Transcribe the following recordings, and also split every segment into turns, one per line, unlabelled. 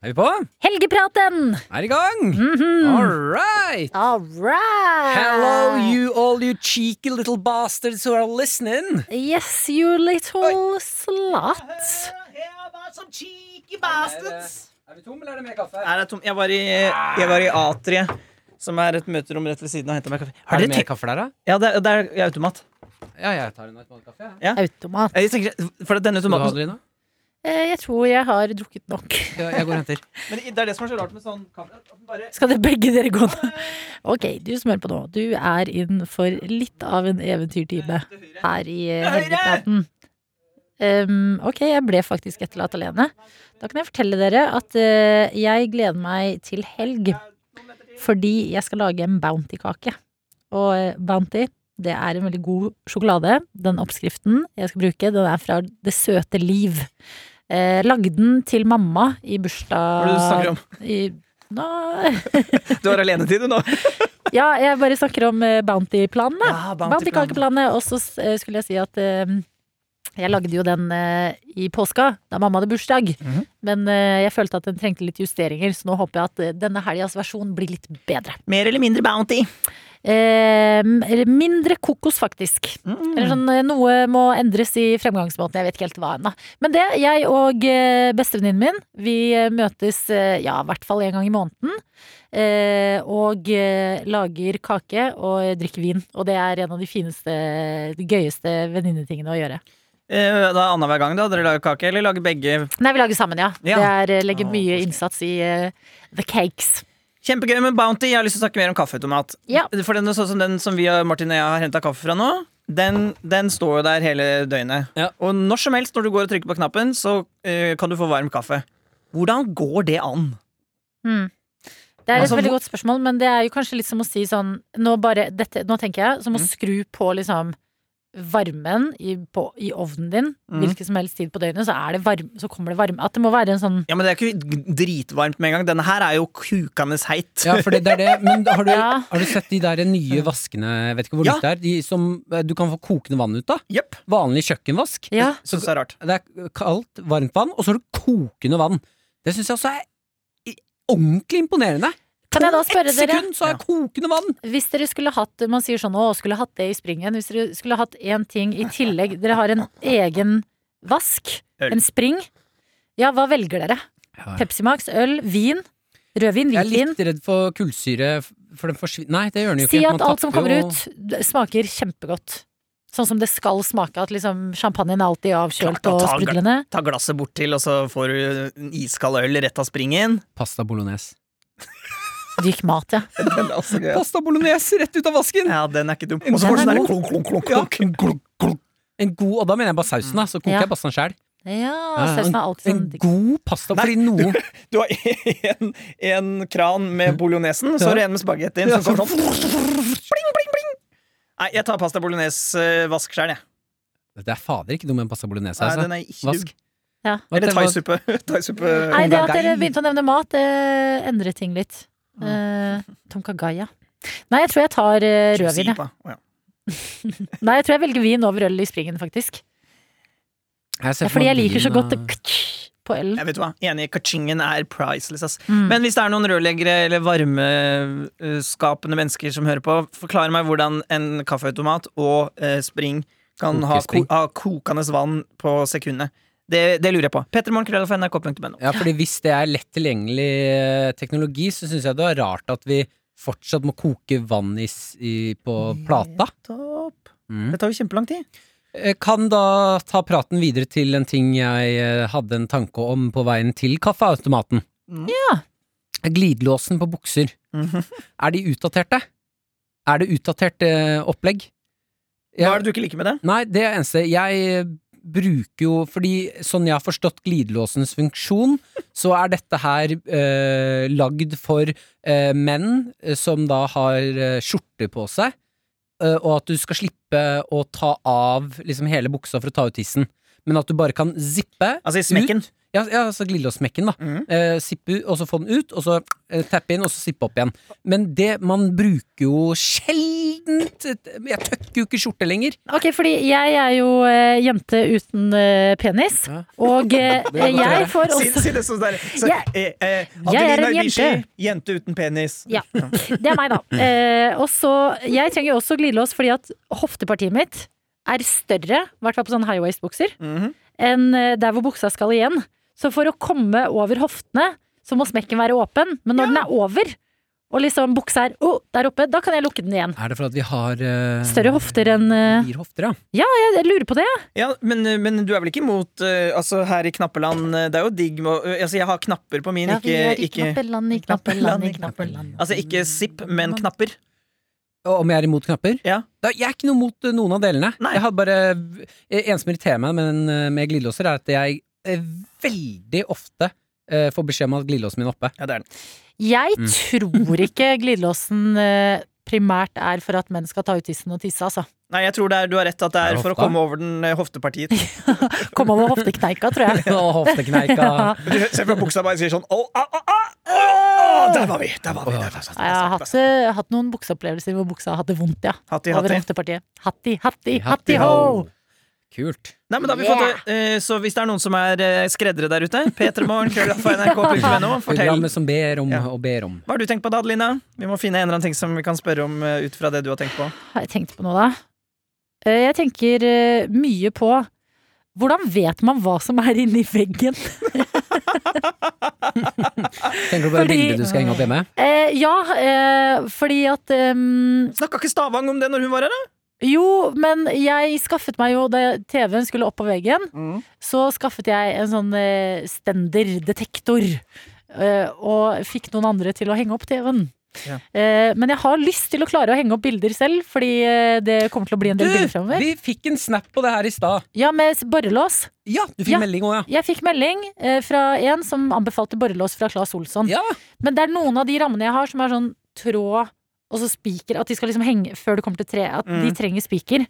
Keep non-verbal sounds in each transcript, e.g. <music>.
Er vi på?
Helgepraten!
Er i gang!
Mm.
All right!
All right!
Mhm. Hello, you all you cheeky little bastards who are listening.
Yes, you little slut.
Er vi tom, eller er det mer kaffe?
Er det tom? Jeg var i, jeg var i A3, som er et møterom rett ved siden av, og henta meg kaffe. Har
Er det
dere
mer
tenkt-
kaffe der, da?
Ja, det er, det er automat.
Ja, jeg tar en automatkaffe. Ja.
Automat.
Jeg tenker, for at denne
Skal du ha
automaten
det, Lina?
Eh, Jeg tror jeg har drukket nok.
Ja, Jeg går og henter.
Men det er det som er så rart med sånn kamera. at den bare-
Skal dere begge dere gå nå? Ok, du som hører på nå. Du er inn for litt av en eventyrtime her i eh,
Høyre!
Helgepraten. Um, ok, jeg ble faktisk etterlatt alene. Da kan jeg fortelle dere at eh, jeg gleder meg til helg. Fordi jeg skal lage en bounty-kake. Og eh, bounty, det er en veldig god sjokolade. Den oppskriften jeg skal bruke, den er fra Det søte liv. Eh, lagde den til mamma i
Hva er det du
bursdag
snakker om?
i, nå,
Du har alenetid, du nå.
Ja, jeg bare snakker om eh, Bounty-planen, da.
Ja,
Bounty-kakeplanet. Og så eh, skulle jeg si at eh, jeg lagde jo den eh, i påska, da mamma hadde bursdag.
Mhm.
Men eh, jeg følte at den trengte litt justeringer, så nå håper jeg at eh, denne helgas versjon blir litt bedre.
Mer eller mindre Bounty.
Eh, eller mindre kokos, faktisk.
Mm.
Eller sånn, eh, noe må endres i fremgangsmåten. Jeg vet ikke helt hva ennå. Men det, jeg og eh, bestevenninnen min, vi eh, møtes eh, ja, i hvert fall en gang i måneden. eh, Og eh, lager kake og eh, drikker vin. Og det er en av de fineste, de gøyeste venninnetingene å gjøre.
Eh, da Annenhver gang, da? Dere lager kake, eller lager begge?
Nei, vi lager sammen, ja.
Ja.
Det er, eh, legger
Å,
mye
koselig.
innsats i eh, the cakes.
Kjempegøy med Bounty. Jeg har lyst til å snakke mer om kaffeautomat.
Ja.
For den, sånn som den som vi og Martin og jeg har henta kaffe fra nå, den, den står jo der hele døgnet.
Ja.
Og når som helst når du går og trykker på knappen, så eh, kan du få varm kaffe. Hvordan går det an?
Mm. Det er et
Altså,
veldig
hvor-
godt spørsmål, men det er jo kanskje litt som å si sånn Nå, bare, dette, nå tenker jeg som å
Mm.
skru på liksom varmen i, på, i ovnen din
Mm.
hvilken som helst tid på døgnet, så, er det varm, så kommer det varme. At det må være en sånn
Ja, men Det er ikke g- dritvarmt med en gang. Denne her er jo kukende heit. <laughs>
Ja, for det, det er det. Men har du,
Ja.
har du sett de der nye vaskene, jeg vet ikke hvor
Ja.
nytt det er, de som eh, du kan få kokende vann ut av?
Jepp.
Vanlig kjøkkenvask.
Ja.
Synes det er rart.
Det er kaldt, varmt vann, og så har du kokende vann. Det syns jeg også er i- ordentlig imponerende.
Kan jeg da spørre
Ett
dere,
sekund, så har jeg kokende vann!
hvis dere skulle hatt Man sier sånn å, skulle hatt det i springen. Hvis dere skulle hatt én ting i tillegg Dere har en egen vask.
Øl.
En spring. Ja, hva velger dere? Pepsi Max, øl, vin? Rødvin,
Jeg er
hvitvin?
litt redd for kullsyre, for den forsvinner Nei, det gjør den jo ikke.
Si at
Man
alt som
tapper
kommer
jo-
ut, d- smaker kjempegodt. Sånn som det skal smake. At liksom champagnen er alltid avkjølt
Klart, da
og
tar den-
sprudlende.
Ta glasset bortil, og så får du en iskald øl rett av <laughs> springen.
Pasta bolognese.
Dyk mat, ja.
Den er også gøy.
Pasta bolognese rett ut av vasken!
Ja, den er ikke dum.
Den
Og så får du
er
sånn der
god.
klunk, klunk, klunk,
Ja.
klunk, klunk, klunk.
En god, og da mener jeg bare sausen, da. Så koker
Ja.
jeg pastaen sjæl.
Ja, Sausen er alltid
en
sånn digg.
god pasta, fordi noen
Du har <laughs> en, en kran med bolognesen, så har du en med spagettien. Som kommer sånn bling, bling, bling. Nei, jeg tar pasta bolognese-vask sjøl, jeg.
Det er fader ikke dum med en pasta bolognese,
Nei,
altså.
den er ikke dum.
Vask.
Ja.
Hva-
Eller
hva-
thaisuppe. <laughs> Thaisuppe.
Nei, det at dere
Tonkagai.
begynte å nevne mat, det endret ting litt.
Mm.
Eh, Tomkagaya. Nei, jeg tror jeg tar eh, rødvin. jeg.
Sipa. Å, ja.
Nei, jeg tror jeg velger vin over øl i springen, faktisk.
ser
Ja,
for
fordi jeg
meg
liker så
vin,
godt
eh,
det ktsch på ølen.
Jeg vet hva, Enig, kachingen er priceless. ass
Mm.
Men hvis det er noen rørleggere eller varmeskapende mennesker som hører på, forklar meg hvordan en kaffeautomat og eh, spring kan ha, ko
Kokespring.
ha kokende vann på sekundet. Det, det lurer jeg på. Pettermorgenkrøll.nrk.no.
Ja, fordi hvis det er lett tilgjengelig eh, teknologi, så syns jeg det er rart at vi fortsatt må koke vann i, s- i, på plata.
Topp.
Mm.
Det tar jo kjempelang tid.
Jeg Eh, Kan da ta praten videre til en ting jeg eh, hadde en tanke om på veien til kaffeautomaten.
Mm.
Ja. Glidelåsen på bukser.
Mhm.
Er de utdaterte? Er det utdatert eh, opplegg?
Hva
Jeg-
er det du ikke liker med det?
Nei, det er eneste. Jeg eh, bruker jo Fordi sånn jeg har forstått glidelåsens funksjon, så er dette her eh, lagd for eh, menn eh, som da har eh, skjorte på seg, eh, og at du skal slippe å ta av liksom hele buksa for å ta ut tissen. Men at du bare kan zippe
Altså i smekken.
ut Ja, ja altså glidelåsmekken, da.
Mhm.
Eh, sippe, og så få den ut, og så eh, tappe inn, og så sippe opp igjen. Men det man bruker jo sjeldent Jeg tøkker jo ikke skjorte lenger.
Ok, fordi jeg er jo eh, jente uten eh, penis,
Ja.
og
<laughs>
eh,
Det er godt å høre.
jeg får
Si,
også
si det sånn der. Så,
Jeg-
eh, eh,
jeg er en
Adelina Ibishi,
jente.
jente uten penis.
Ja, <laughs> det er meg, da. Eh, og så Jeg trenger jo også glidelås fordi at hoftepartiet mitt er større, i hvert fall på sånne high-waist-bukser,
Mhm.
enn eh, der hvor buksa skal igjen. Så for å komme over hoftene, så må smekken være åpen. Men når den er over, og liksom buksa er oh, der oppe, da kan jeg lukke den igjen.
Er det for at vi har eh,
Større hofter enn eh,
Fire hofter, ja.
jeg, jeg lurer på det, jeg.
Ja, men, men du er vel ikke imot eh, Altså, her i knappeland eh, Det er jo digg med å eh, Altså, jeg har knapper på min, ikke, ikke <laughs>
knappeland, i
knappeland, i Altså, ikke zipp, men knapper.
Og Om jeg er imot knapper?
Ja.
Da, jeg er ikke noe mot eh, noen av delene.
Nei.
Jeg hadde bare eh, En som irriterer meg med, den, eh, med glidelåser, er at jeg eh, veldig ofte eh, får beskjed om at glidelåsen min er oppe.
Ja, det er den.
Jeg
Mm.
tror ikke glidelåsen eh, primært er for at menn skal ta ut tissen og tisse, altså.
Nei, jeg tror det er, du har rett at det
Er
er
det
for å
hofta?
komme over den eh,
<laughs>
hoftepartiet.
Kom over hoftekneika, tror jeg.
Og hoftekneika.
Ja.
Du ser fra buksa bare sier sånn Å, å, å, å, å, ah!» Der var vi! Der var vi! Der var vi.
Ja, Jeg har hatt, eh, hatt noen bukseopplevelser hvor buksa har hatt det vondt, ja.
Hatti,
Over
hatti.
hoftepartiet. Hatti, hatti,
Hattie
hatti ho!
Kult.
Nei, men da har vi fått det. Eh, Så hvis det er noen som er eh, skreddere der ute, p3morgen.nrk.no, fortell.
Programmet som ber om
Ja.
og ber om.
Hva har du tenkt på da, Adelina? Vi må finne en eller annen ting som vi kan spørre om eh, ut fra det du har tenkt på.
Har jeg tenkt på noe, da? Eh, Jeg tenker eh, mye på hvordan vet man hva som er inni veggen?
Tenker du på det
Fordi-
bildet du skal henge opp hjemme?
Eh, ja, eh, fordi at ehm,
Snakka ikke Stavang om det når hun var her, da?
Jo, men jeg skaffet meg jo Da TV-en skulle opp på veggen,
Mm.
så skaffet jeg en sånn eh, stender-detektor. eh, og fikk noen andre til å henge opp TV-en.
Ja.
Eh, men jeg har lyst til å klare å henge opp bilder selv, fordi eh, det kommer til å bli en
Du,
del bilder fremover.
vi fikk en snap på det her i stad.
Ja, med s- borrelås.
Ja, du fikk
Ja.
melding òg,
Jeg fikk melding eh, fra en som anbefalte borrelås fra Claes Olsson.
ja. ja.
Men det er noen av de rammene jeg har som er sånn tråd og så spiker. At de skal liksom henge før du kommer til treet. At de
Mm.
trenger spiker.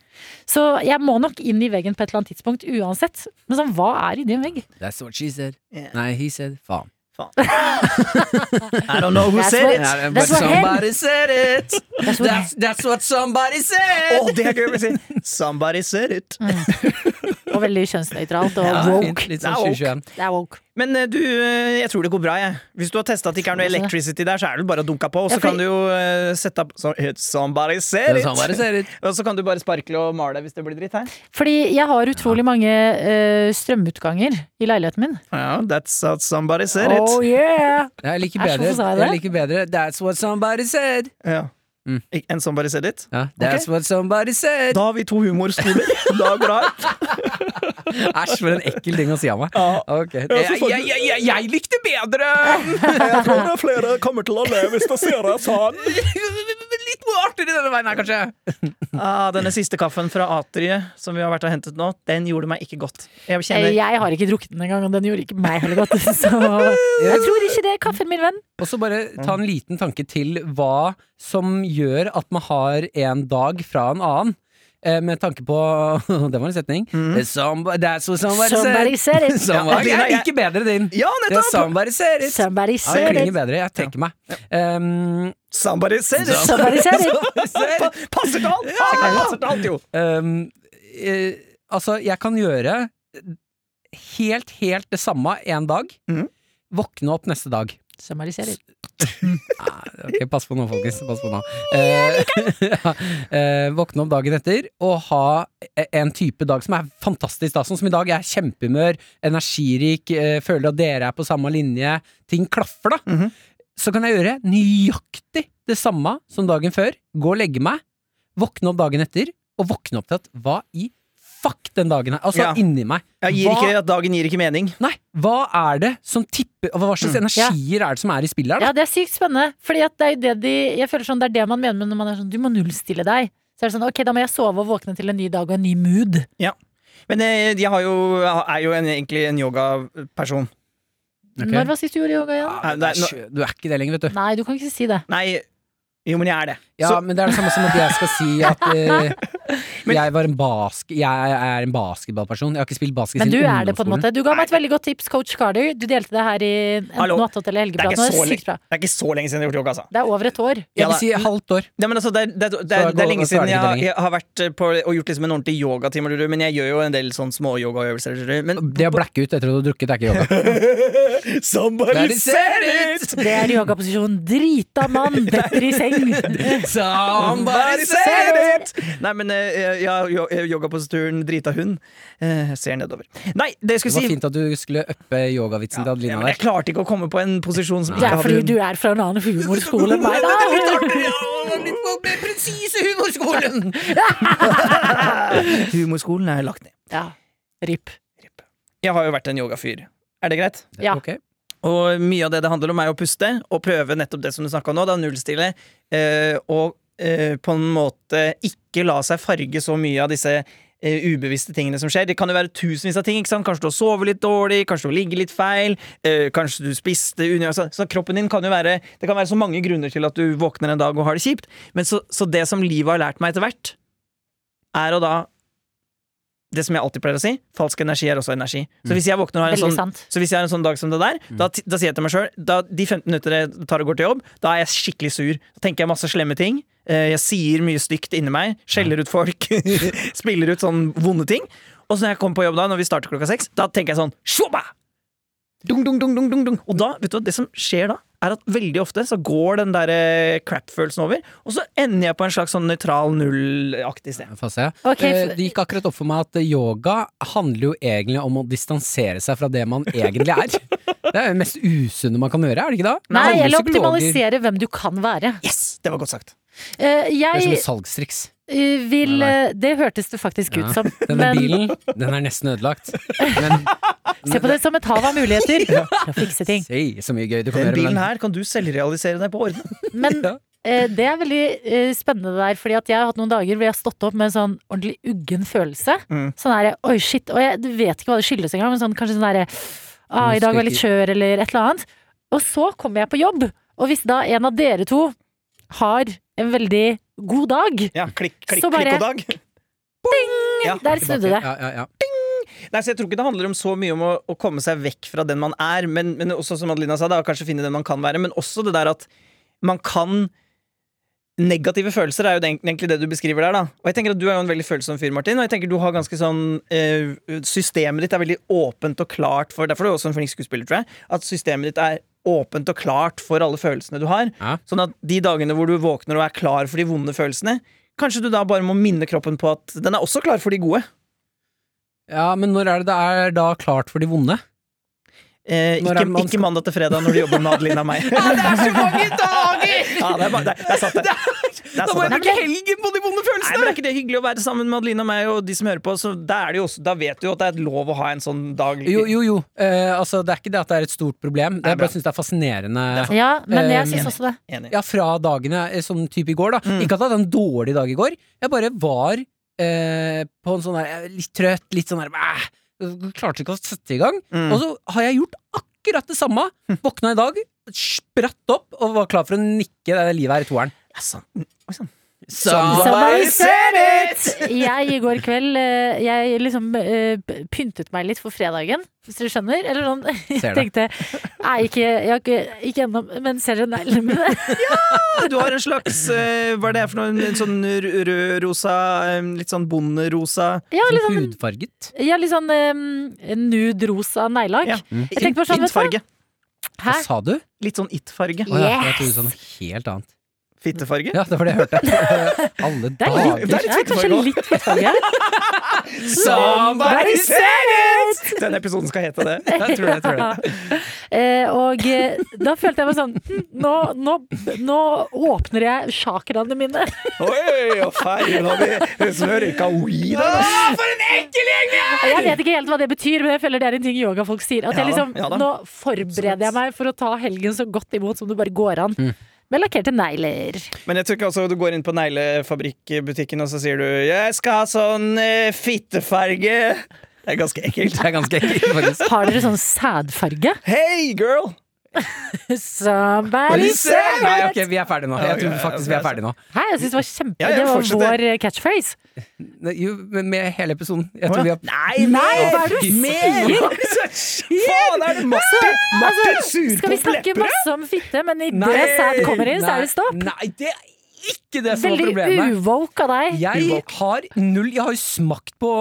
Så jeg må nok inn i veggen på et eller annet tidspunkt uansett. Men sånn, hva er i din vegg?
That's what she said.
Yeah.
Nei, he said. Faen.
I don't know who
That's
said
what-
it.
Ja, det-
That's
but
what hen-
somebody said it! That's, that's what somebody
Å,
said!
det er gøy å si! Somebody said it.
Og veldig kjønnsnøytralt og
Ja, det er fint.
woke.
Litt
Det
sånn
er woke.
2021.
Det er woke.
Men eh, du, eh, jeg tror det går bra, jeg. Hvis du har testa at det ikke er noe electricity der, så er det bare å dunke på, og
Ja,
så
for-
kan du jo eh, sette opp så- Somebody said
That's somebody
it!
said it.
Og så kan du bare sparkle og male hvis det blir dritt her.
Fordi jeg har utrolig mange eh, strømutganger i leiligheten min.
Ja, that's what somebody said it.
Oh yeah!
<laughs> Jeg liker
Æsj, hvorfor
bedre.
sa jeg det?
Jeg liker bedre. That's what somebody said.
Ja.
Mm.
Ik- And somebody said it.
Ja, that's what somebody said.
Da har vi to <laughs> humorskoler. Da går det her.
Æsj, for en ekkel ting å si av meg.
Ja.
Ok.
så
Jeg,
får du-
jeg, jeg, jeg, jeg likte bedre! <laughs>
Jeg tror det er flere kommer til å le hvis de ser deg sånn.
Litt more artigere denne veien her, kanskje.
<laughs> Ah, denne siste kaffen fra Atriet som vi har vært og hentet nå, den gjorde meg ikke godt. Jeg
Eh,
kjenner
Jeg har ikke drukket den engang, og den gjorde ikke meg heller godt. <laughs> Så jeg tror ikke det er kaffen, min venn.
Og så bare ta en liten tanke til hva som gjør at man har en dag fra en annen. Eh, med tanke på <laughs> Det var en setning. Somebody, that's what somebody,
Somebody said
<laughs> said.
it.
Somebody,
Ja,
Mm. jeg
jeg-
liker bedre din.
Ja,
Det er
nettopp!
somebody said it. Ja,
Somebody
det
said
klinger
it.
bedre. Jeg trekker meg. Um,
Somebody said it!
Somebody said
<laughs>
it.
said
Pa
it.
passer til alt! Ah, passer til alt, jo!
Um, eh, altså, jeg kan gjøre helt, helt det samme en dag.
Mhm.
Våkne opp neste dag.
Somebody said it.
Nei, ok, pass på nå, folkens. Pass på nå. Eh, <laughs> ja, eh, våkne opp dagen etter og ha eh, en type dag som er fantastisk. Da. Sånn som i dag. Jeg er kjempehumør, energirik, eh, føler at dere er på samme linje. Ting klaffer, da.
Mhm.
Så kan jeg gjøre nøyaktig det samme som dagen før. Gå og legge meg. Våkne opp dagen etter, og våkne opp til at hva i fuck den dagen her? Altså
Ja.
inni meg.
Jeg gir
Hva-
ikke, at dagen gir ikke mening.
Nei, hva er det som tipper Hva slags
Mm.
energier er det som er i spillet her, da?
Ja, det er sykt spennende. Fordi at det er jo det de Jeg føler sånn, det er det man mener med når man er sånn Du må nullstille deg. Så er det sånn, ok, da må jeg sove og våkne til en ny dag og en ny mood.
Men eh, jeg, har jo, jeg er jo en, egentlig en yogaperson.
Ok. Ah.
Når var sist du gjorde yoga igjen?
Ja, Ah, det er sjø- du er ikke det lenger, vet du.
Nei, du kan ikke si det.
Nei, jo, men jeg er det.
Ja,
Så-
men det er det samme som at jeg skal si at eh,
<laughs> Men-
jeg, var en bask, jeg er en basketballperson. Jeg har ikke spilt basket
Men du
siden
er det på en
ungdomsskolen.
måte. Du ga meg et veldig godt tips, coach Carter. Du delte det her i
Hallo.
enten Noatot eller
Det er
Helgepraten.
ikke
Det
så
er
lenge-
sykt bra.
Det er ikke så lenge siden jeg har gjort yoga, altså.
Det er over et år.
Ja,
Jeg vil si halvt år.
Ja, men altså, det, er- det, er- det,
Så
er-
er
det er
gå- så
lenge
er
siden
det ikke
jeg,
det lenger.
jeg har vært på, og gjort liksom en ordentlig yogatime, lurer du, men jeg gjør jo en del sånn små yogaøvelser. lurer du,
<laughs>
Men
Det å blacke ut etter at du har drukket, det er ikke
<laughs>
yoga.
Somebody said it!
Det er yogaposisjon. Drita
<laughs>
mann, detter i seng.
Somebody
said it! Nei, men eh, ja, yo- yogaposituren drita hund. Eh, ser nedover. Nei, det
Det
jeg skulle
var
si
fint at du skulle uppe yogavitsen til
ja,
Adelina
men Jeg
der.
klarte ikke å komme på en posisjon som
Det er fordi du er fra en annen humorskole enn meg,
<laughs>
da.
Presise humorskolen!
Humorskolen er lagt ned.
Ja. Rip.
Jeg har jo vært en yogafyr. Er det greit?
Ja.
Ok.
Og mye av det det handler om, er å puste og prøve nettopp det som du snakka om nå, da nullstille. Eh, og eh, på en måte ikke la seg farge så mye av disse eh, ubevisste tingene som skjer. Det kan jo være tusenvis av ting. ikke sant? Kanskje du har sovet litt dårlig, kanskje du har ligget litt feil, eh, kanskje du spiste unø... altså, Så, så kroppen din kan jo være Det kan være så mange grunner til at du våkner en dag og har det kjipt. Men så, så det som livet har lært meg etter hvert, er å da det som jeg alltid pleier å si, falsk energi er også energi. Så hvis jeg våkner og har en
Veldig
sånn
sant.
så hvis jeg har en sånn dag som det der,
Mm.
da, ti- da sier jeg til meg sjøl De 15 minutter jeg tar og går til jobb, da er jeg skikkelig sur. Da tenker jeg masse slemme ting. Eh, Jeg sier mye stygt inni meg. Skjeller ut folk. <laughs> spiller ut sånn vonde ting. Og så når jeg kommer på jobb da, når vi starter klokka seks, da tenker jeg sånn Shubba! Dung, dung, dung, dung, dung, dung. Og da, vet du hva, det som skjer da, er at veldig ofte så går den der eh, crap-følelsen over, og så ender jeg på en slags sånn nøytral null-aktig sted.
Få se.
Ok,
Eh,
for-
Det gikk akkurat opp for meg at yoga handler jo egentlig om å distansere seg fra det man egentlig
<laughs>
er. Det er jo det mest usunne man kan gjøre, er det ikke det?
Nei,
Alle
eller
psykologer-
optimalisere hvem du kan være.
Yes! Det var godt sagt.
Eh,
Det er som et
Jeg
salgstriks.
eh, vil eh, Det hørtes det faktisk ut
<laughs>
som.
Denne
Men
bilen, den er nesten ødelagt. Men <laughs>
se på det som et hav av
<laughs>
muligheter for å fikse ting.
si så mye gøy du kan gjøre
Den
med
bilen
den.
her kan du selvrealisere deg på orden.
Men eh, det er veldig eh, spennende det der, fordi at jeg har hatt noen dager hvor jeg har stått opp med en sånn ordentlig uggen følelse.
Mm.
Sånn der, oi shit, og jeg vet ikke hva det skyldes engang, men sånn, kanskje sånn derre ah, I dag var jeg litt skjør, eller et eller annet. Og så kommer jeg på jobb, og hvis da en av dere to har en veldig god dag
Ja, klikk, klikk,
Så bare-
klikk og dag. Ja,
Der snudde det.
Ja, ja, ja.
Nei, så Jeg tror ikke det handler om så mye om å, å komme seg vekk fra den man er, men, men også som Adelina sa, da, kanskje finne den man kan være, men også det der at man kan Negative følelser er jo det, egentlig det du beskriver der. da Og jeg tenker at Du er jo en veldig følsom fyr, Martin. Og jeg tenker du har ganske sånn eh, Systemet ditt er veldig åpent og klart for Derfor er du også en flink skuespiller, tror jeg. At systemet ditt er åpent og klart for alle følelsene du har.
Ja.
Sånn at de dagene hvor du våkner og er klar for de vonde følelsene, kanskje du da bare må minne kroppen på at den er også klar for de gode.
ja, men når er det det er da klart for de vonde? Når
Eh, ikke,
er det man
ikke
skal-
mandag til fredag når du jobber med Adelina
<laughs>
og meg.
Det
<laughs>
er så <laughs> mange dager!
Ja, det er bare, det, det er
<laughs>
sant, det. det, er sant, Altså, det.
bruke helgen på de vonde
Nei, men er ikke det hyggelig å være sammen med Adelina og meg og de som hører på? Så da, er det jo også, da vet du jo at det er lov å ha en sånn dag.
Jo, jo, jo. Eh, altså, det er ikke det at det er et stort problem.
Nei,
Jeg
bra.
bare syns det er fascinerende.
Ja, men
Eh,
jeg syns også det.
Enig.
Ja, fra dagene eh, som type i går, da.
Mm.
Ikke at jeg hadde en dårlig dag i går. Jeg bare var eh, på en sånn der eh, litt trøtt, litt sånn der "Æh", Klarte ikke å sette i gang.
Mm.
Og så har jeg gjort akkurat det samme. Våkna i dag, spratt opp og var klar for å nikke det livet her i toeren.
Ja, sant. Mm, Oi, sant.
Somebody
said
Jeg i går kveld eh, Jeg liksom eh, p- pyntet meg litt for fredagen, hvis dere skjønner. Eller sånn. Jeg <laughs>
Ser det.
tenkte Nei, ikke, jeg har ikke, ikke ennå, men ser dere neglene?
Du har en slags eh, Hva er det her for noe? En, en sånn r- rød-rosa, eh, litt sånn bonderosa
Ja, litt
Sånn
sånn,
hudfarget.
ja, litt sånn eh, nude rosa neglelakk.
Ja.
Jeg tenkte bare sånn, vet du hva?
It-farge.
Hva
Hæ?
sa du?
Litt sånn it-farge.
Å ja, jeg trodde du sa noe helt annet.
Fittefarge.
Ja, det var det jeg
<laughs>
hørte. Alle
Det er litt,
dager.
Det er litt
ja, kanskje
hudfarge
litt hudfarge.
Somebody said it! Den episoden skal hete
<laughs>
det. Jeg tror det, jeg tror det.
Eh, og eh, da følte jeg meg sånn hm, nå, nå, nå åpner jeg sjakraene mine.
Oi, og feil har vi smørka weed her.
Jeg vet ikke helt hva det betyr, men jeg føler det er en ting yogafolk sier. At
Ja
jeg
da,
liksom,
ja da.
Nå forbereder jeg meg for å ta helgen så godt imot som det bare går an.
Mm.
Med lakkerte negler.
Men jeg tror ikke også du går inn på neglefabrikkbutikken og så sier du 'jeg skal ha sånn eh, fittefarge'. Det er ganske ekkelt.
Det er ganske ekkelt, faktisk.
Har dere sånn sædfarge?
<laughs> Hey girl!
Somebody said
Nei,
it!
ok, vi er ferdige nå. Jeg tror faktisk vi er ferdige nå.
Hæ, jeg synes det var kjempe
Ja, ja,
Det var
fortsett
vår catchphrase.
Ne- Jo, men med hele episoden. Jeg
Å,
tror vi
ja.
har
Nei,
Nei, hva er det du
mer!
sier?
Hva er det som skjer? Altså, Faen, er det Martin, Martin
Altså, Skal vi
surpomp
snakke
lepper?
masse om fitte, men idet sæd kommer inn, så er det stopp?
Nei, det er ikke det som er
Veldig
problemet.
uvoke av deg.
Jeg
Uvåk.
har null Jeg har jo smakt på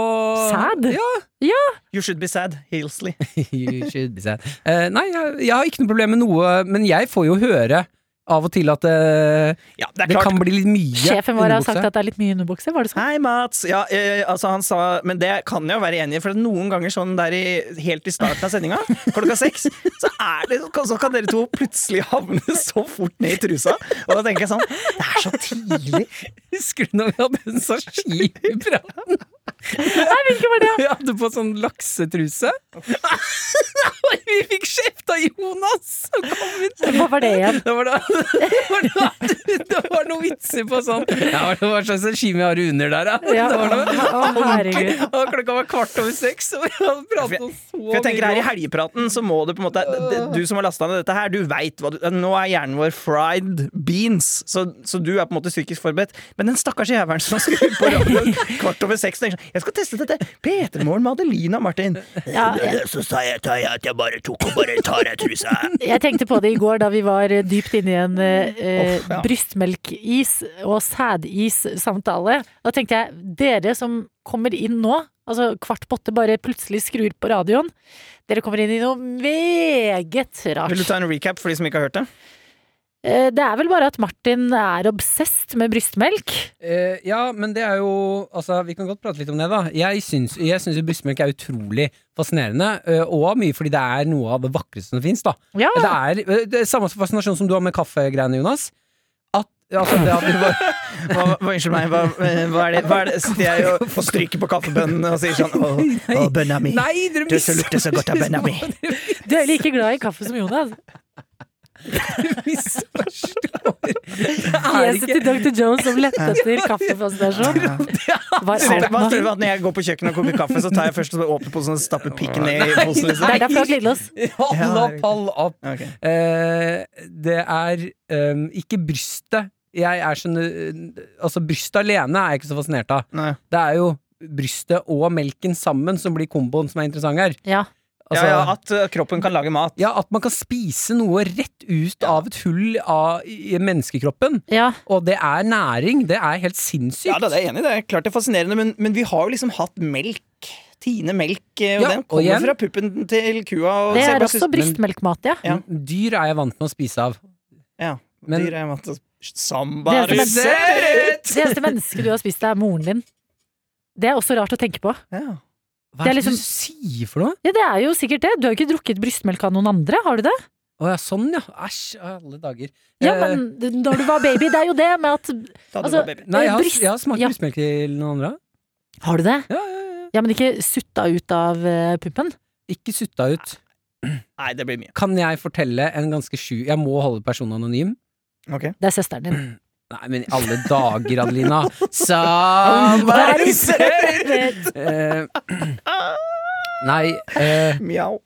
Sæd?
Ja.
You should be sad, Hilsley.
You should be sad. Eh, nei, jeg, jeg har ikke noe problem med noe, men jeg får jo høre av og til at eh,
Ja, det er
det
klart.
kan bli litt mye.
Sjefen vår har
underbukse.
sagt at det er litt mye underbukse. Var det sånn?
Hei, Mats! Ja, eh, altså han sa Men det kan jeg jo være enig i, for at noen ganger sånn der i, helt i starten av sendinga, klokka seks, så, er det, så kan dere to plutselig havne så fort ned i trusa. Og da tenker jeg sånn Det er så tidlig!
<laughs> Husker du når vi hadde en sånn sashimi-prat?
Nei, hvilken var det?
Vi hadde på sånn laksetruse. <laughs> Og vi fikk kjeft av Jonas! som kom ut.
Hva var det igjen?
Det var, da, det, var da, det var noen vitser på sånn ja, Hva slags regime har du under der, da?
Ja,
Det var
å,
noe-
å, herregud.
Og klokka var kvart over seks, og vi hadde pratet oss så
For jeg tenker her I
mye.
helgepraten så må det på en måte det- Du som har lasta ned dette her, du veit hva du Nå er hjernen vår fried beans, så, så du er på en måte psykisk forberedt. Men den stakkars jævelen som skrur på radioen kvart over seks tenker sånn Jeg skal teste dette! P3morgen med Adelina og Martin.
Ja, jeg-
Så sa jeg til deg at jeg bare tok og bare tar av trusa.
Jeg tenkte på det i går da vi var eh, dypt inne i en eh, eh,
Uff, ja.
brystmelkis og sædis-samtale. Da tenkte jeg, dere som kommer inn nå, altså kvart på åtte bare plutselig skrur på radioen, dere kommer inn i noe meget rart.
<laughs> Vil du ta en recap for de som ikke har hørt det?
Eh, Det er vel bare at Martin er obsesst med brystmelk.
Eh, ja, men det er jo Altså, vi kan godt prate litt om det, da. Jeg syns, jeg syns jo brystmelk er utrolig fascinerende, eh, og mye fordi det er noe av det vakreste som fins, da.
Ah.
Ja,
Det er eh, det er samme fascinasjon som du har med kaffegreiene, Jonas. At Altså, det at du
<laughs>
bare
Hva, hva, unnskyld meg, hva, eh, hva er det, hva er det? Sitter jeg og, og stryker på kaffebønnene og sier sånn Å, å bønna mi.
Nei, dere
Du som lukter så godt av bønna <laughs> mi.
<laughs>
du er like glad i kaffe som Jonas.
misforstår.
Fjeset til Dr. Jones som lette etter
<laughs>
kaffefascinasjon
Ja.
var
Ser du-
Erna.
Hva tror du at når jeg går på kjøkkenet og koker kaffe, så tar jeg først og åpner posen og stapper pikken ned i posen?
Det
Liksom?
er derfor du har glidelås.
Hold
Ja,
opp, hold opp.
Ok.
Eh, det er ehm, ikke brystet. Jeg er sånn eh, Altså, brystet alene er jeg ikke så fascinert av.
Nei.
Det er jo brystet og melken sammen som blir komboen som er interessant her.
Ja.
Altså,
ja,
ja,
ja, at uh, kroppen kan lage mat.
at man kan spise noe rett ut av et hull av, i i menneskekroppen.
ja.
Og det er næring. Det er helt sinnssykt.
Ja, da, det er jeg enig i. Det er klart det er fascinerende, men, men vi har jo liksom hatt melk. Tine melk, eh, og
Ja,
den
og
kommer
igjen-
fra puppen til kua. Og
Det
så jeg
er
bare
også
synes-
brystmelkmat, ja.
Ja.
Dyr er jeg vant med å spise av.
Ja,
Men-
dyr er vant til å-
Det
Somebody
er som en-
said
<laughs>
it!
Det eneste mennesket du har spist, det er moren din. Det er også rart å tenke på.
Ja.
Hva
Det er
er det du
liksom-
sier for noe?
Ja, det er jo sikkert det. Du har jo ikke drukket brystmelk av noen andre, har du det?
Å ja, sånn ja. Æsj, alle dager.
Ja,
Eh,
men da du var baby, det er jo det med at
Ta det
Altså-
på, baby.
Nei, jeg har,
Bryst-
jeg har smakt
ja.
brystmelk til noen andre.
Har du det?
Ja, ja, ja.
Ja, men ikke sutta ut av eh, puppen?
Ikke sutta ut.
Nei, det blir mye.
Kan jeg fortelle en ganske sju Jeg må holde personen anonym.
Ok.
Det er søsteren din.
Nei, men i alle dager, Adelina.
<laughs> Ah,
Somebody Eh, <clears throat> Nei, eh,
Mjau.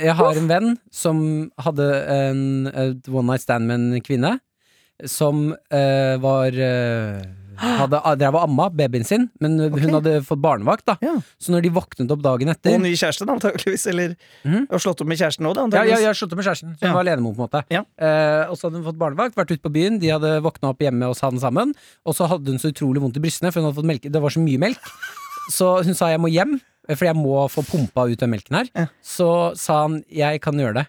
jeg har en venn som hadde en et one night stand med en kvinne. Som eh, var eh, hadde, Drev og amma babyen sin, men
Ok.
hun hadde fått barnevakt. da
Ja.
Så når de våknet opp dagen etter
Og ny kjæreste, da, antakeligvis. Eller
Mhm.
og slått opp med kjæresten òg, da.
Ja, ja,
antageligvis.
jeg har sluttet med kjæresten, så hun
Mm. Ja.
var alenemor, på en måte.
Ja.
Eh, og så hadde hun fått barnevakt, vært ute på byen, de hadde våkna opp hjemme hos han sammen. Og så hadde hun så utrolig vondt i brystene, for hun hadde fått melk. det var så mye melk. Så hun sa 'jeg må hjem, fordi jeg må få pumpa ut den melken her'.
Ja.
Så sa han 'jeg kan gjøre det'.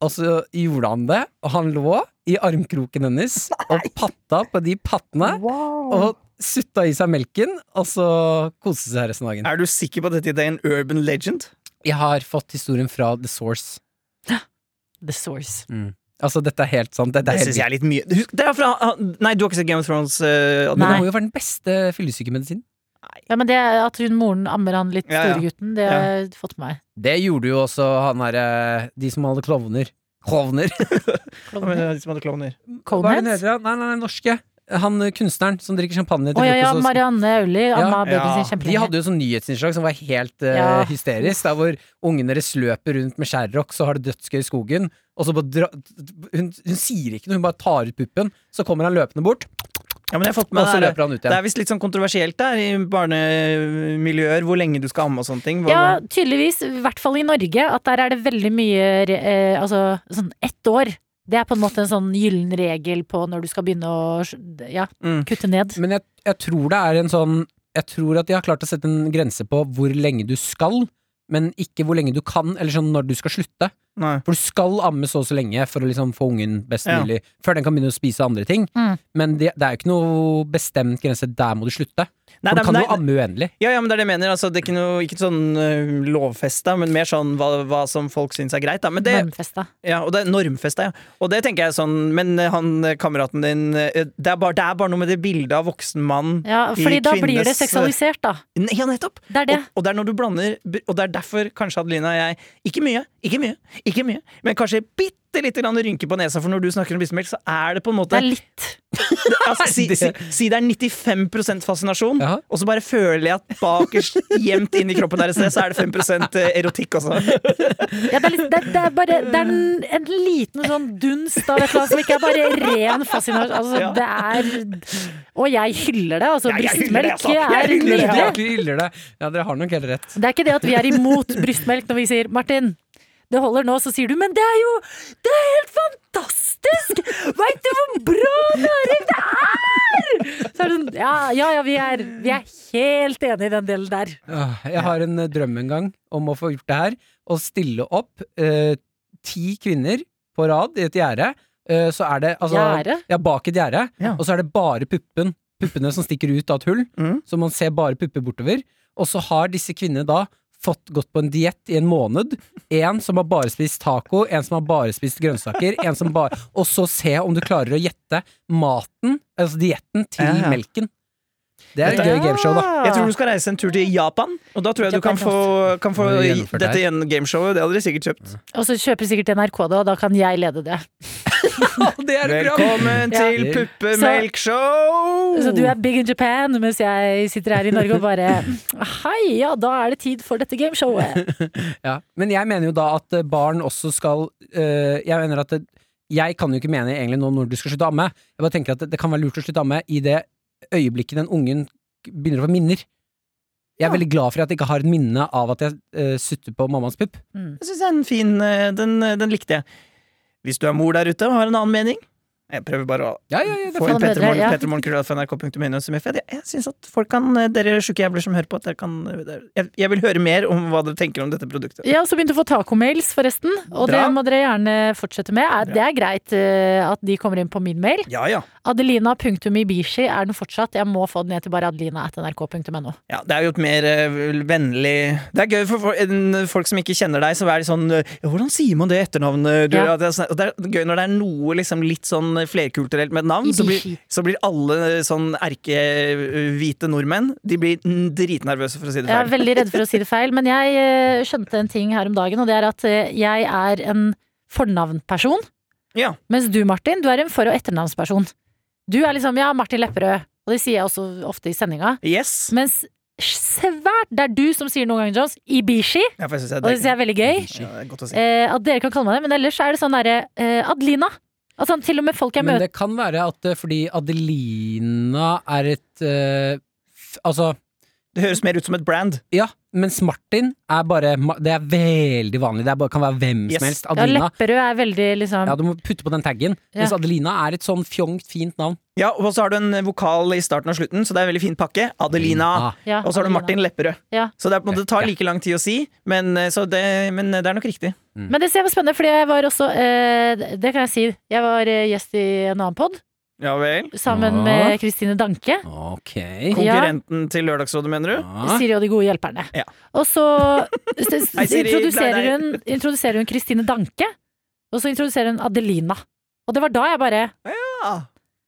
Og så gjorde han det, og han lå i armkroken
<laughs>
hennes og patta på de pattene. Og sutta i seg melken, og så koste seg resten av dagen.
Er du sikker på at dette er en urban legend?
Jeg har fått historien fra The Source.
<laughs> The source.
Altså, dette er helt sant. Dette er
Det
helt
synes jeg er litt mye Husk, det er fra, ah, Nei, du har ikke sett Game of Thrones? eh,
Men
Adnan?
det
Nei.
må jo være den beste fyllesykemedisinen.
Ja, men det at hun moren ammer han litt
Ja, ja.
storegutten, det har jeg fått med meg.
Det gjorde jo også han derre De som hadde klovner. Klovner?
Ja, men det er de som hadde klovner.
Hva er det den
Coneheads?
heter? da? Nei, nei, nei, norske. han eh, kunstneren som drikker champagne til
Å ja, ja,
frokost. og-
Marianne Aulie, Anna
Ja.
Bødden sin
Ja.
de
kjempelenge.
hadde jo sånn nyhetsinnslag som var helt eh,
Ja.
hysterisk. Der hvor ungen deres løper rundt med skjærrock, så har det dødsgøy i skogen. Og så bare dra hun, hun sier ikke noe, hun bare tar ut puppen. Så kommer han løpende bort,
Ja, men jeg har fått
og
med
så
det, her.
løper han ut
det er
igjen.
visst litt sånn kontroversielt der i barnemiljøer hvor lenge du skal amme og sånne ting. Hvor-
Ja, tydeligvis, i hvert fall i Norge, at der er det veldig mye eh, Altså sånn ett år. Det er på en måte en sånn gyllen regel på når du skal begynne å ja,
Mm.
kutte ned.
Men jeg, jeg tror det er en sånn Jeg tror at de har klart å sette en grense på hvor lenge du skal, men ikke hvor lenge du kan, eller sånn når du skal slutte.
Nei.
For du skal amme så og så lenge for å liksom få ungen best
Ja.
mulig, før den kan begynne å spise andre ting.
Mm.
Men det, det er jo ikke noe bestemt grense. Der må du slutte.
Nei,
for du
nei,
kan
men
jo
det-
amme uendelig.
Ja, ja, men det er det jeg mener. Altså, det er ikke, noe, ikke sånn uh, lovfesta, men mer sånn hva, hva som folk syns er greit. Da. Men det,
Normfesta.
ja, og det er normfesta, ja. Og det tenker jeg sånn Men eh, han eh, kameraten din eh, det er, bare, det er bare noe med det bildet av voksen mann
Ja,
i
fordi da blir det
kvinnes-
seksualisert, da.
N- Ja, nettopp!
Det er det.
Og, og det er når du blander Og det er derfor kanskje Adelina og jeg Ikke mye, ikke mye, ikke mye, men kanskje bitte lite grann rynker på nesa, for når du snakker om bismelk, så er det på en måte
Det er litt.
altså, si, si, si det er 95 fascinasjon,
Ja.
og så bare føler jeg at bakerst, gjemt inn i kroppen deres, så er det 5 erotikk altså. også.
Ja, det, er litt det, det er bare det er en, en liten sånn dunst av et eller annet som ikke er bare ren fascinasjon. Altså,
Ja.
det er Og jeg hyller det, altså.
Ja, jeg hyller det,
Brystmelk
altså. Jeg
er
hyller det,
nydelig.
ja.
Dere hyller det. Ja, dere har nok helt rett.
Det er ikke det at vi er imot brystmelk når vi sier Martin, det holder nå, så sier du men det er jo Det er helt fantastisk! Veit du hvor bra næring det er?! Så er det sånn Ja ja, ja vi, er, vi er helt enig i den delen der.
Åh, Jeg har en eh, drøm en gang om å få gjort det her. Å stille opp eh, ti kvinner på rad i et gjerde. Eh, så er det altså,
Gjerde?
Ja, bak et gjerde.
Ja.
Og så er det bare puppen, puppene som stikker ut av et hull.
Mm.
Så man ser bare pupper bortover. Og så har disse kvinnene da fått gått på en diett i en måned. En som har bare spist taco, en som har bare spist grønnsaker. En som bare, og så se om du klarer å gjette maten, altså dietten, til
Ja.
melken. Det er et gøy gameshow, da. <laughs>
Jeg tror du skal reise en tur til Japan, og da tror jeg du kan få, kan få
Må vi gjennomføre det
dette
her?
igjen gameshowet. Det hadde dere sikkert kjøpt.
Og så kjøper sikkert NRK det, og da kan jeg lede det.
Det er et program!
Velkommen
Ja.
til puppemelkshow!
Så du er big in Japan, mens jeg sitter her i Norge og bare Hei, ja, da er det tid for dette gameshowet.
Ja. Men jeg mener jo da at eh, barn også skal eh, Jeg mener at det, Jeg kan jo ikke mene egentlig nå når du skal slutte å amme. Jeg bare tenker at det, det kan være lurt å slutte å amme i det øyeblikket den ungen begynner å få minner. Jeg er veldig glad for at jeg ikke har et minne av at jeg eh, sutter på mammas pupp.
Mm.
Jeg synes det er en fin eh, den, den likte jeg. Hvis du er mor der ute og har en annen mening Jeg prøver bare å
Ja, ja, ja, det
få
er
fint.
inn Petremorgen-
Ja.
petremorgen.nrk.no som er fed. Jeg, jeg syns at folk kan, eh, dere sjuke jævler som hører på, at dere kan eh, det- jeg, jeg vil høre mer om hva dere tenker om dette produktet.
Ja, så begynte å få tacomails, forresten. Og det
Bra.
må dere gjerne fortsette med. Er- Det er greit eh, at de kommer inn på min mail.
Ja, ja.
Adelina.ibishi er den fortsatt. Jeg må få den ned til bare adelina.nrk.no.
Ja, det er jo et mer eh, vennlig Det er gøy for for en, folk som ikke kjenner deg, så er de sånn eh, ja, 'Hvordan sier man det etternavnet?' Du,
Ja.
At det, er sånn- og det er gøy når det er noe liksom, litt sånn flerkulturelt med et navn, så blir,
Ibishi.
så blir alle eh, sånn erkehvite nordmenn De blir mm, dritnervøse, for å si det
Jeg er
feil.
veldig redd for å si det feil, men jeg eh, skjønte en ting her om dagen, og det er at eh, jeg er en fornavnperson,
Ja.
mens du, Martin, du er en for- og etternavnsperson. Du er liksom ja, Martin Lepperød, og det sier jeg også ofte i sendinga,
Yes.
mens svært det er du som sier noen ganger, Jones, Ibishi,
Ja, for jeg synes
og det syns jeg er veldig gøy.
Ja, det er godt å si.
Eh, at dere kan kalle meg det, men ellers er det sånn derre eh, Adelina. Altså til og med folk jeg
Men
møter
det kan være at eh, fordi Adelina er et eh, f, Altså,
Det høres mer ut som et brand.
ja. Mens Martin er bare ma- Det er veldig vanlig. Det er bare, kan være hvem
Yes.
som helst.
ja,
Adelina.
Lepperød er veldig liksom
Ja, du må putte på den taggen.
Ja.
Mens Adelina er et sånn fjongt, fint navn.
Ja, Og så har du en vokal i starten og slutten, så det er en veldig fin pakke. Adelina.
Ah.
ja,
Og så har du
Adelina.
Martin Lepperød.
Ja.
Så det, er på en måte, det tar like lang tid å si, men, eh, så det, men det er nok riktig.
Men det ser jeg var spennende, fordi jeg var også eh, Det kan jeg si. Jeg var eh, gjest i en annen pod
Ja vel.
Ja.
sammen med Kristine Danke.
Ok.
Konkurrenten til Lørdagsrådet, mener du?
Ja.
Siri og de gode hjelperne.
Ja.
Og så s- s-
Hei, Siri, glad i
introduserer
deg.
hun Introduserer hun Kristine Danke, og så introduserer hun Adelina. Og det var da jeg bare
Ja.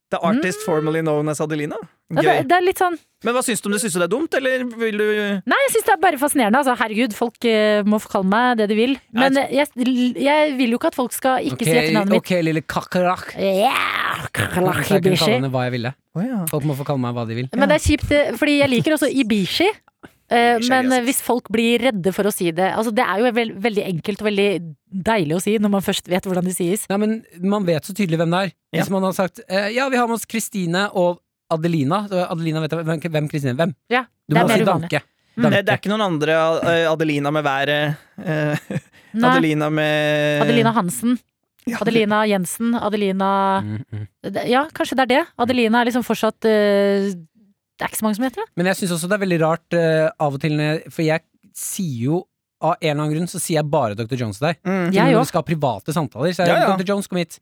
The artist formerly known as Adelina.
Mm. ja, det,
Gøy.
det er litt sånn
Men hva syns du om det? Syns du det er dumt, eller vil du
Nei, jeg syns det er bare fascinerende. Altså, herregud, folk eh, må få kalle meg det de vil. Men eh, jeg, jeg vil jo ikke at folk skal ikke si etternavnet mitt.
ok, lille kakerlakk.
Yeah!
Så jeg kunne kalle
Ibishi.
henne hva jeg ville.
Å ja.
Folk må få kalle meg hva de vil.
Men det er kjipt, eh, fordi jeg liker også Ibishi. Eh,
Ibishi er
Men
gøy, ass.
hvis folk blir redde for å si det altså Det er jo vel- veldig enkelt og veldig deilig å si når man først vet hvordan det sies.
Nei, men man vet så tydelig hvem det er. Hvis man hadde sagt eh, ja, vi har med oss Kristine og Adelina så Adelina vet jeg hvem- hvem Kristine hvem.
Ja,
Du
det
må
er mer
si
uvanlig.
Danke.
Mm.
Det, det er
Danke.
ikke noen andre eh, Adelina med været. eh,
Nei,
Adelina med
Adelina Hansen.
Ja,
Adelina Jensen. Adelina
Mm, mm.
Ja, kanskje det er det. Adelina er liksom fortsatt eh, Det er ikke så mange som heter det.
Men jeg syns også det er veldig rart eh, av og til når jeg For jeg sier jo av en eller annen grunn så sier jeg bare Dr. Jones til deg.
Mm.
Til og med
Jeg
når
òg.
vi skal ha private samtaler. Så er
Ja,
det
ja.
Dr. Jones, kom hit.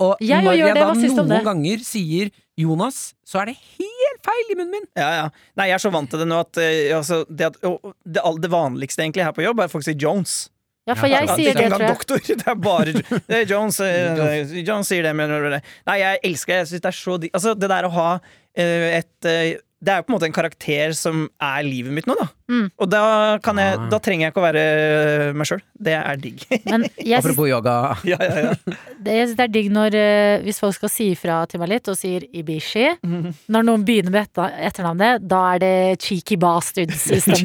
Og
Jeg
når
gjør
jeg
det,
da
hva syns du om
noen
det?
ganger sier Jonas, så er det helt feil i munnen min.
Ja, ja. Nei, jeg er så vant til det nå at, eh, altså, det, at og det, all- det vanligste egentlig her på jobb er at folk sier Jones.
Ja, for
Ja,
jeg
ja,
sier
ikke
det,
engang
tror jeg.
doktor. <laughs> Det er bare
<laughs>
det er Jones, eh, Jones sier det. Men, nei, jeg elsker det. Jeg synes det er så digg. Altså, det der å ha eh, et eh, Det er jo på en måte en karakter som er livet mitt nå, da.
Mm.
Og da, kan jeg,
Ah.
da trenger jeg ikke å være eh, meg sjøl. Det er digg.
Men jeg syns
Apropos yoga.
<laughs> ja, ja, ja.
det, jeg syns det er digg når eh, hvis folk skal si ifra til meg litt og sier Ibishi. Når noen begynner med etter, etternavnet, da er det cheeky bastards-stemning.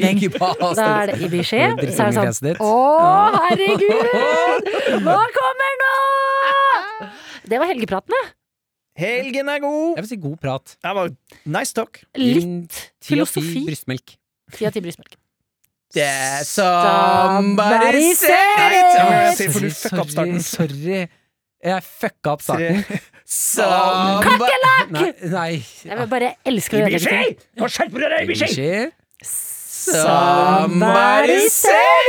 <laughs> Cheeky bastard.
Da er det
<laughs>
Ibishi.
Når du drikker
Så er det
under fjeset
sånn
ditt.
Å, herregud! Hva kommer nå?! Det var helgepraten, det.
<laughs> Helgen er god!
Jeg vil si god prat.
Det var nice talk.
Litt
Din ti av ti
filosofi.
Brystmelk.
Ti av ti brystmelk.
Yeah,
somebody
Nei,
said
det må jeg si,
Sorry,
for du fucka opp
sorry,
starten.
sorry. Jeg fucka opp starten.
<laughs> Kakerlakk!
Nei, nei.
Jeg vil bare elsker å ødelegge ting.
Nå skjerper du deg,
Ibishi.
Somebody said